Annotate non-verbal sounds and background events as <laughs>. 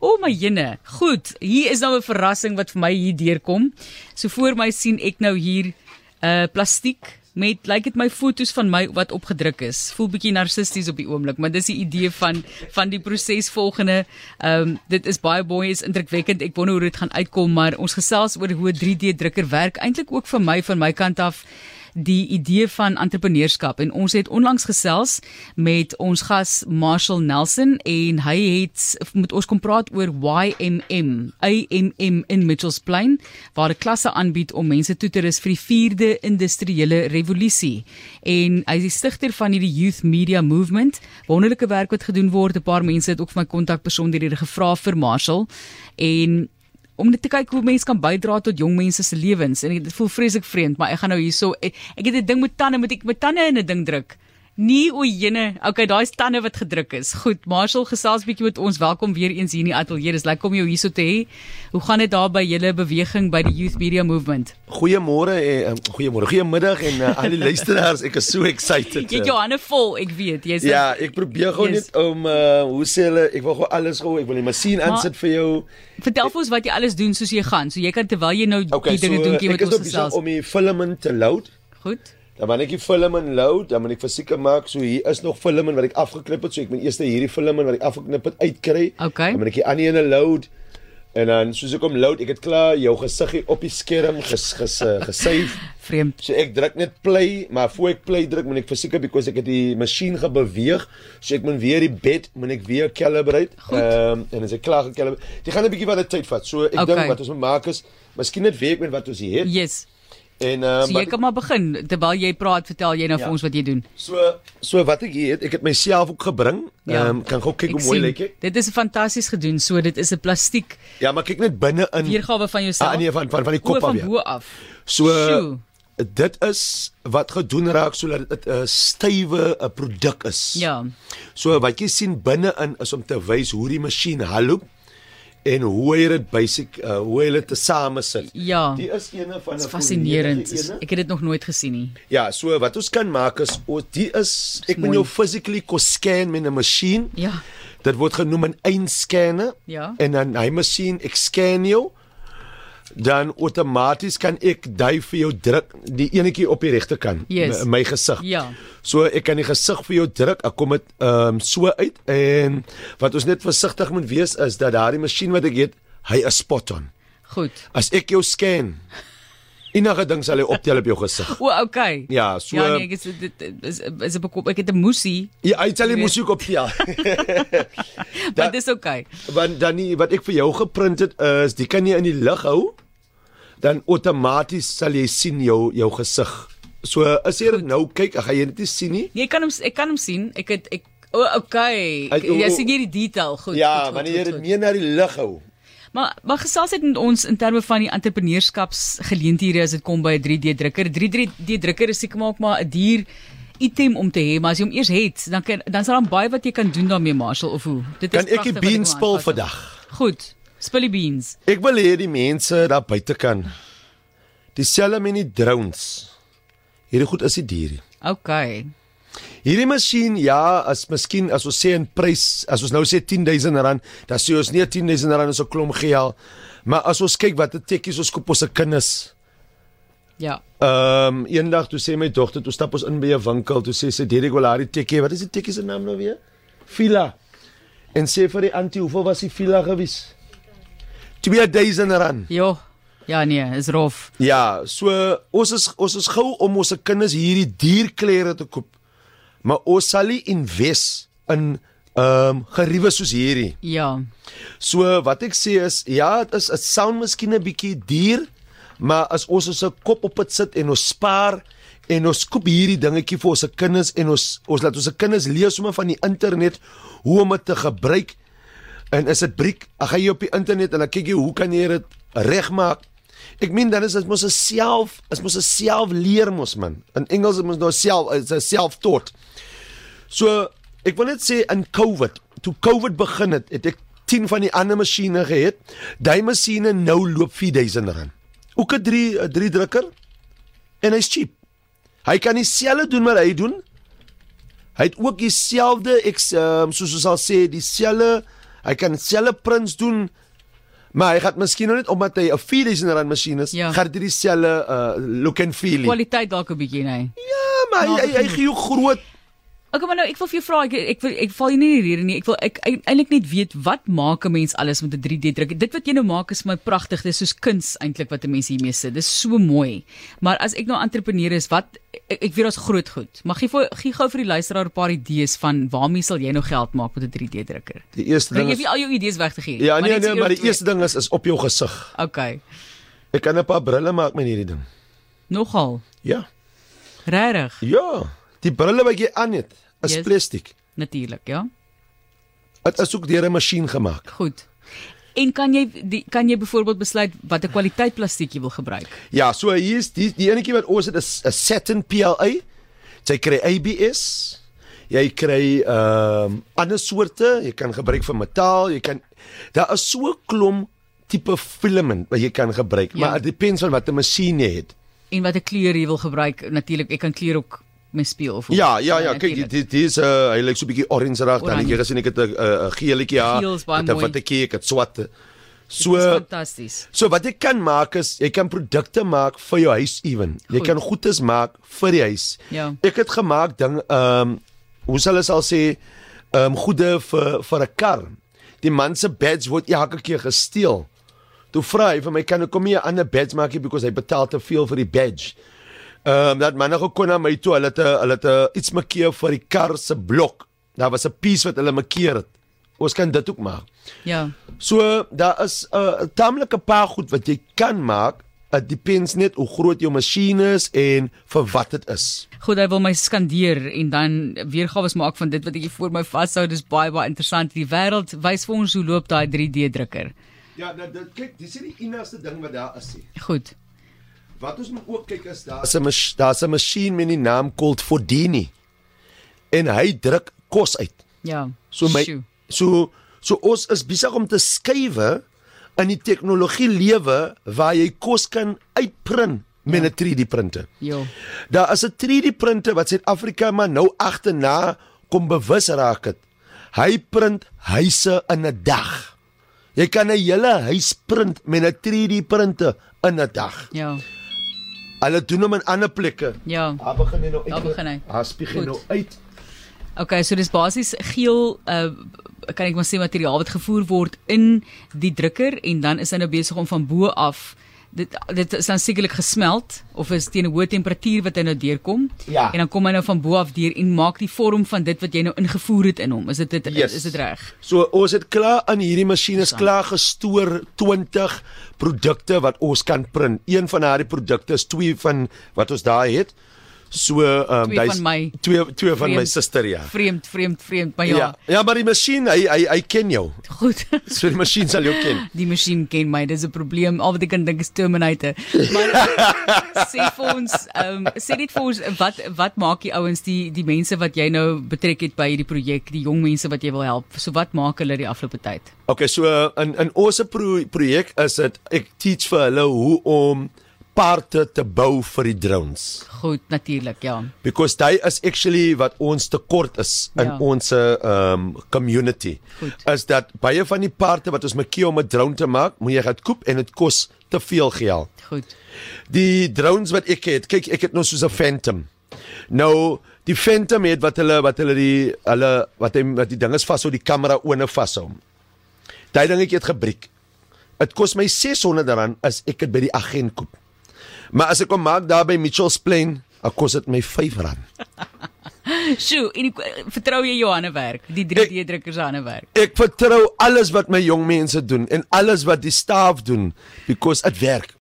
O oh my jene. Goed, hier is nou 'n verrassing wat vir my hier deurkom. So voor my sien ek nou hier 'n uh, plastiek met lyk like dit my fotos van my wat opgedruk is. Voel bietjie narcisties op die oomblik, maar dis die idee van van die proses volgende. Ehm um, dit is baie mooi, is indrukwekkend. Ek wonder hoe dit gaan uitkom, maar ons gesels oor hoe 3D drukker werk eintlik ook vir my van my kant af die idee van entrepreneurskap en ons het onlangs gesels met ons gas Marshall Nelson en hy het met ons kom praat oor YMM, AMM in Mitchells Plain waar 'n klasse aanbied om mense toe te rus vir die 4de industriële revolusie en hy is die stigter van hierdie Youth Media Movement. Wonderlike werk wat gedoen word. 'n Paar mense het ook vir my kontakpersoon hierdie gevra vir Marshall en om net te kyk hoe mense kan bydra tot jong mense se lewens en dit voel vreeslik vreemd, maar ek gaan nou hierso ek, ek het 'n ding met tande, moet ek met tande in 'n ding druk. Nee, o jene. Okay, daai's tande wat gedruk is. Goed, Marshall gesels bietjie met ons. Welkom weer eens hier in die ateljee. Dis lekker om jou hierso te hê. Hoe gaan dit daar by julle beweging by die Youth Media Movement? Goeiemôre en goeiemôre. Goeiemiddag en uh, al <laughs> die luisteraars. Ek is so excited. eh. Jy het jou hande vol, ek weet. Jy's Ja, ek probeer gou yes. net om uh, hoe sê hulle, ek wil gou alles gou, ek wil die masjien aansit vir jou. Vertel vir ons wat jy alles doen soos jy gaan. So jy kan terwyl jy nou okay, die dinge so, doen, jy met ons gesels. Ek is nou om die film in te load. Goed. Dan wanneer ek die film in load, dan moet ek verseker maak so hier is nog film wat ek afgeknip het, so ek moet eers nou hierdie film wat ek afgeknip het uitkry. Okay. Dan moet ek die ander een load. En dan soos ek hom load, ek het klaar jou gesiggie op die skerm ges, ges, eh, gesave. Vreemd. So ek druk net play, maar voor ek play druk moet ek verseker because ek het die masjien gebeweeg, so ek moet weer die bed moet ek weer calibrate. Ehm um, en as ek klaar gekalibrate, dit gaan 'n bietjie wat tyd vat. So ek okay. dink wat ons moet maak is miskien net weet met wat ons hier het. Yes. En uh, Ja. so jy kan maar begin terwyl jy praat, vertel jy nou ja. vir ons wat jy doen. So so wat ek hier het, ek het myself ook gebring. Ehm ja. um, kan gou kyk hoe mooi lyk ek. Dit is fantasties gedoen. So dit is 'n plastiek. Ja, maar kyk net binne in. Weergawe van jouself. Ah nee, van van van die kop af. Van bo af. So Sjoe. dit is wat gedoen raak sodat dit 'n uh, stywe 'n uh, produk is. Ja. So wat jy sien binne-in is om te wys hoe die masjien haloop en hoe hy dit basic uh, hoe hulle te same sit. Ja. Die is eene van 'n fascinerend. Is, ek het dit nog nooit gesien nie. Ja, so wat ons kan maak is ons die is ek moet jou physically kos scan met 'n masjien. Ja. Dit word genoem 'n einscanner. Ja. En dan hy masjien ek scan jou dan outomaties kan ek dui vir jou druk die enetjie op die regte kant yes. my, my gesig. Ja. So ek kan die gesig vir jou druk. Ek kom dit ehm um, so uit en wat ons net versigtig moet wees is dat daardie masjien wat ek het, hy is spot on. Goed. As ek jou scan Enige ding sal hy optel op jou gesig. O, okay. Ja, so Ja, nee, ek is dit is is 'n bekop. Ek het 'n moesie. Ja, hy sal die moesie optel. Maar dis okay. Want dan nie wat ek vir jou geprint het is, die kan jy in die lug hou dan outomaties sal jy sien jou jou gesig. So as jy dit nou kyk, gaan jy dit nie sien nie. Jy kan hom Nee, ek kan hom sien. Ek het ek o, oh, okay. Ek, o, o, jy sien hier die detail. Goed. Ja, goed, wanneer jy dit meer na die lig hou. Maar maar gesels het met ons in terme van die entrepreneurskapsgeleenthede as dit kom by 'n 3D drukker. 3D drukker is seker maar ook maar 'n duur item om te hê, maar as jy hom eers het, dan kan dan sal daar baie wat jy kan doen daarmee, Marshall of hoe. Dit is Kan ek die bean spil ja. vandag? Goed. Spilly beans. Ek wil hê die mense daar buite kan dieselfde met die drones. Hierdie goed is die diere. OK. Hierdie masjien ja, as miskien as ons sê in prys, as ons nou sê R10000, dan sê ons nie R10000 is 'n klomp geld, maar as ons kyk wat 'n tekkies ons koop ons se kinders. Ja. Ehm um, eendag toe sê my dogter, toe stap ons in by 'n winkel, toe sê sy, "Dirk wil haar tekkie, wat is die tekkie se naam nou weer?" Fila. En sê vir die antie, "Hoeveel was die Fila gewees?" 2000 rand. Ja. Ja nee, is rof. Ja, so ons is ons is gou om ons se kinders hierdie dierklere te koop. Maar ons sal nie invest in ehm um, geriewe soos hierdie. Ja. So wat ek sê is ja, dit is 'n sound miskien 'n bietjie duur, maar as ons ons kop op dit sit en ons spaar en ons koop hierdie dingetjie vir ons se kinders en ons ons laat ons se kinders leer sommer van die internet hoe om dit te gebruik En is dit briek? Ag jy op die internet en dan kyk jy hoe kan jy dit regmaak? Ek meen dan is dit mos 'n self, is mos 'n self leer mos man. In Engels is mos nou self, is 'n self taught. So ek wil net sê in COVID, toe COVID begin het, het ek 10 van die ander masjiene gehad. Daai masjiene nou loop R4000. Ook 'n 3 3 drukker en hy's cheap. Hy kan dieselfde doen wat hy ehm, doen. Hy het ook dieselfde ek um, soos ons al sê, dieselfde Hy kan selfe prints doen. Maar hy gaan miskien nou net omdat hy 'n 4000 rand masjien is, Ja. ja. gaan dit dieselfde uh, look and feel. hê. Kwaliteit dalk 'n bietjie, nee. Ja, maar hy hy, hy gee jou groot Okay, maar nou ek wil vir jou vra, ek ek wil ek val jy nie in die rede nie. Ek wil ek ek- eintlik net weet wat maak 'n mens alles met 'n 3D druk? Dit wat jy nou maak is vir my pragtig. Dis soos kuns eintlik wat 'n mens hiermee sit. Dis so mooi. Maar as ek nou entrepreneur is, wat ek, ek weet daar's groot goed. Mag jy vir gee gou vir die luisteraar 'n paar idees van waarmee sal jy nou geld maak met 'n 3D drukker? die eerste Dink ding. jy Is, vir al jou idees weg te gee? ja, nee net so nee, een maar of die twee. eerste ding is is op jou gesig. Okay. Ek kan 'n paar brille maak met hierdie ding. Nogal. Ja. Regtig? Ja, die brille wat jy aan het is Yes. yes. plastiek. Natuurlik, ja. Dit is ook deur 'n masjien gemaak. Goed. En kan jy die, kan jy byvoorbeeld besluit watter kwaliteit plastiek jy wil gebruik? Ja, so hier is die die enetjie wat ons het is 'n Saturn PLA. Jy kry ABS. Jy kry ehm um, ander soorte, jy kan gebruik vir metaal, jy kan daar is so 'n klomp tipe filament wat jy kan gebruik, Ja. ja. maar dit depends van watter masjien jy het. en watter kleur jy wil gebruik. Natuurlik, ek kan kleur ook mee speel of Ja, ja, ja, kyk natuurlik. dit dit is uh, hy lyk so 'n bietjie orange rag, dan het jy Oranje. gesien ek het 'n uh, geeletjie haar, Geel is baie met 'n mooi. wattetjie, ek het swart. So Dit is fantasties. So wat jy kan maak is jy kan produkte maak vir jou huis ewen. Jy Goed. kan goedes maak vir die huis. Ja. Ek het gemaak ding ehm um, hoe sal hulle sal sê ehm um, goede vir vir 'n kar. Die man se badge word elke keer gesteel. Toe vra hy vir my kan ek kom hier 'n ander badge maak hier because hy betaal te veel vir die badge. Ehm um, dat manne gekom na my toe. Hulle het 'n- hulle het 'n iets makkeer vir die kar se blok. Daar was 'n piece wat hulle makkeer het. Ons kan dit ook maak. Ja. So daar is 'n uh, taamlike paar goed wat jy kan maak. Dit depends net hoe groot jou masjien is en vir wat dit is. Goed, hy wil my skandeer en dan weergawe maak van dit wat ek hier voor my vashou. Dis baie baie interessant. Die wêreld wys vir ons hoe loop daai 3D drukker. Ja, dat, dat, kyk, dis die enigste ding wat daar is. He. Goed. Wat ons moet ook kyk is daar is 'n mas- daar's 'n masjien met die naam Colt Fordini. En hy druk kos uit. Ja. So my Sjoe. so so ons is besig om te skuwe in die tegnologie lewe waar jy kos kan uitprint met 'n 3D printer. Jo. Daar is 'n 3D printer wat Suid-Afrika maar nou agterna kom bewus raak het. Hy print huise in 'n dag. Jy kan 'n hele huis print met 'n 3D printer in 'n dag. Ja. Hulle doen hom in ander plekke. Ja. Daar begin hy nou uit. Daar begin hy. Daar spieg hy Goed. nou uit. Okay, so dis basies geel uh kan ek maar sê materiaal wat gevoer word in die drukker en dan is hy nou besig om van bo af dit dit is dan sekerlik gesmelt of is teen 'n hoë temperatuur wat hy nou deurkom Ja. en dan kom hy nou van bo af deur en maak die vorm van dit wat jy nou ingevoer het in hom. Is dit, dit Yes. is dit reg? So ons het klaar aan hierdie masjien is klaar gestoor 20 produkte wat ons kan print. Een van daardie produkte is twee van wat ons daar het. So ehm Twee van dis- my twee twee van my vreemd- suster ja. Vreemd, vreemd, vreemd, maar ja. Ja, ja. ja, maar die masjien, hy hy hy ken jou. Goed. <laughs> So die masjien sal jou ken. Die masjien ken my, dis 'n probleem. Al wat ek kan dink is Terminator. Maar sê vir ons, ehm um, sê net vir ons wat wat maak die ouens die die mense wat jy nou betrek het by hierdie projek, die jong mense wat jy wil help. So wat maak hulle die afgelope tyd? Okay, so eh, in in ons pro projek is dit ek teach vir hulle hoe om parte te bou vir die drones Goed, natuurlik, ja. because dit is actually wat ons tekort is in Ja. ja. ons um community. Goed. Is dat baie van die parte wat ons maak om 'n drone te maak, moet jy gaan koop en dit kos te veel geld. Goed. Die drones wat ek het, kyk, ek het nou soos 'n Phantom. Nou die Phantom het wat hulle wat hulle die hulle wat hy wat die ding is vashou, die kamera one vashou. Daai ding ek het gebriek. Dit kos my R600 as ek dit by die agent koop. Maar as ek hom maak daar by Mitchells Plain, dan kos dit my R5. Sjoe, en die, vertrou jy Johanne werk, die 3D drukker se hande werk. Ek vertrou alles wat my jong mense doen en alles wat die staf doen because dit werk.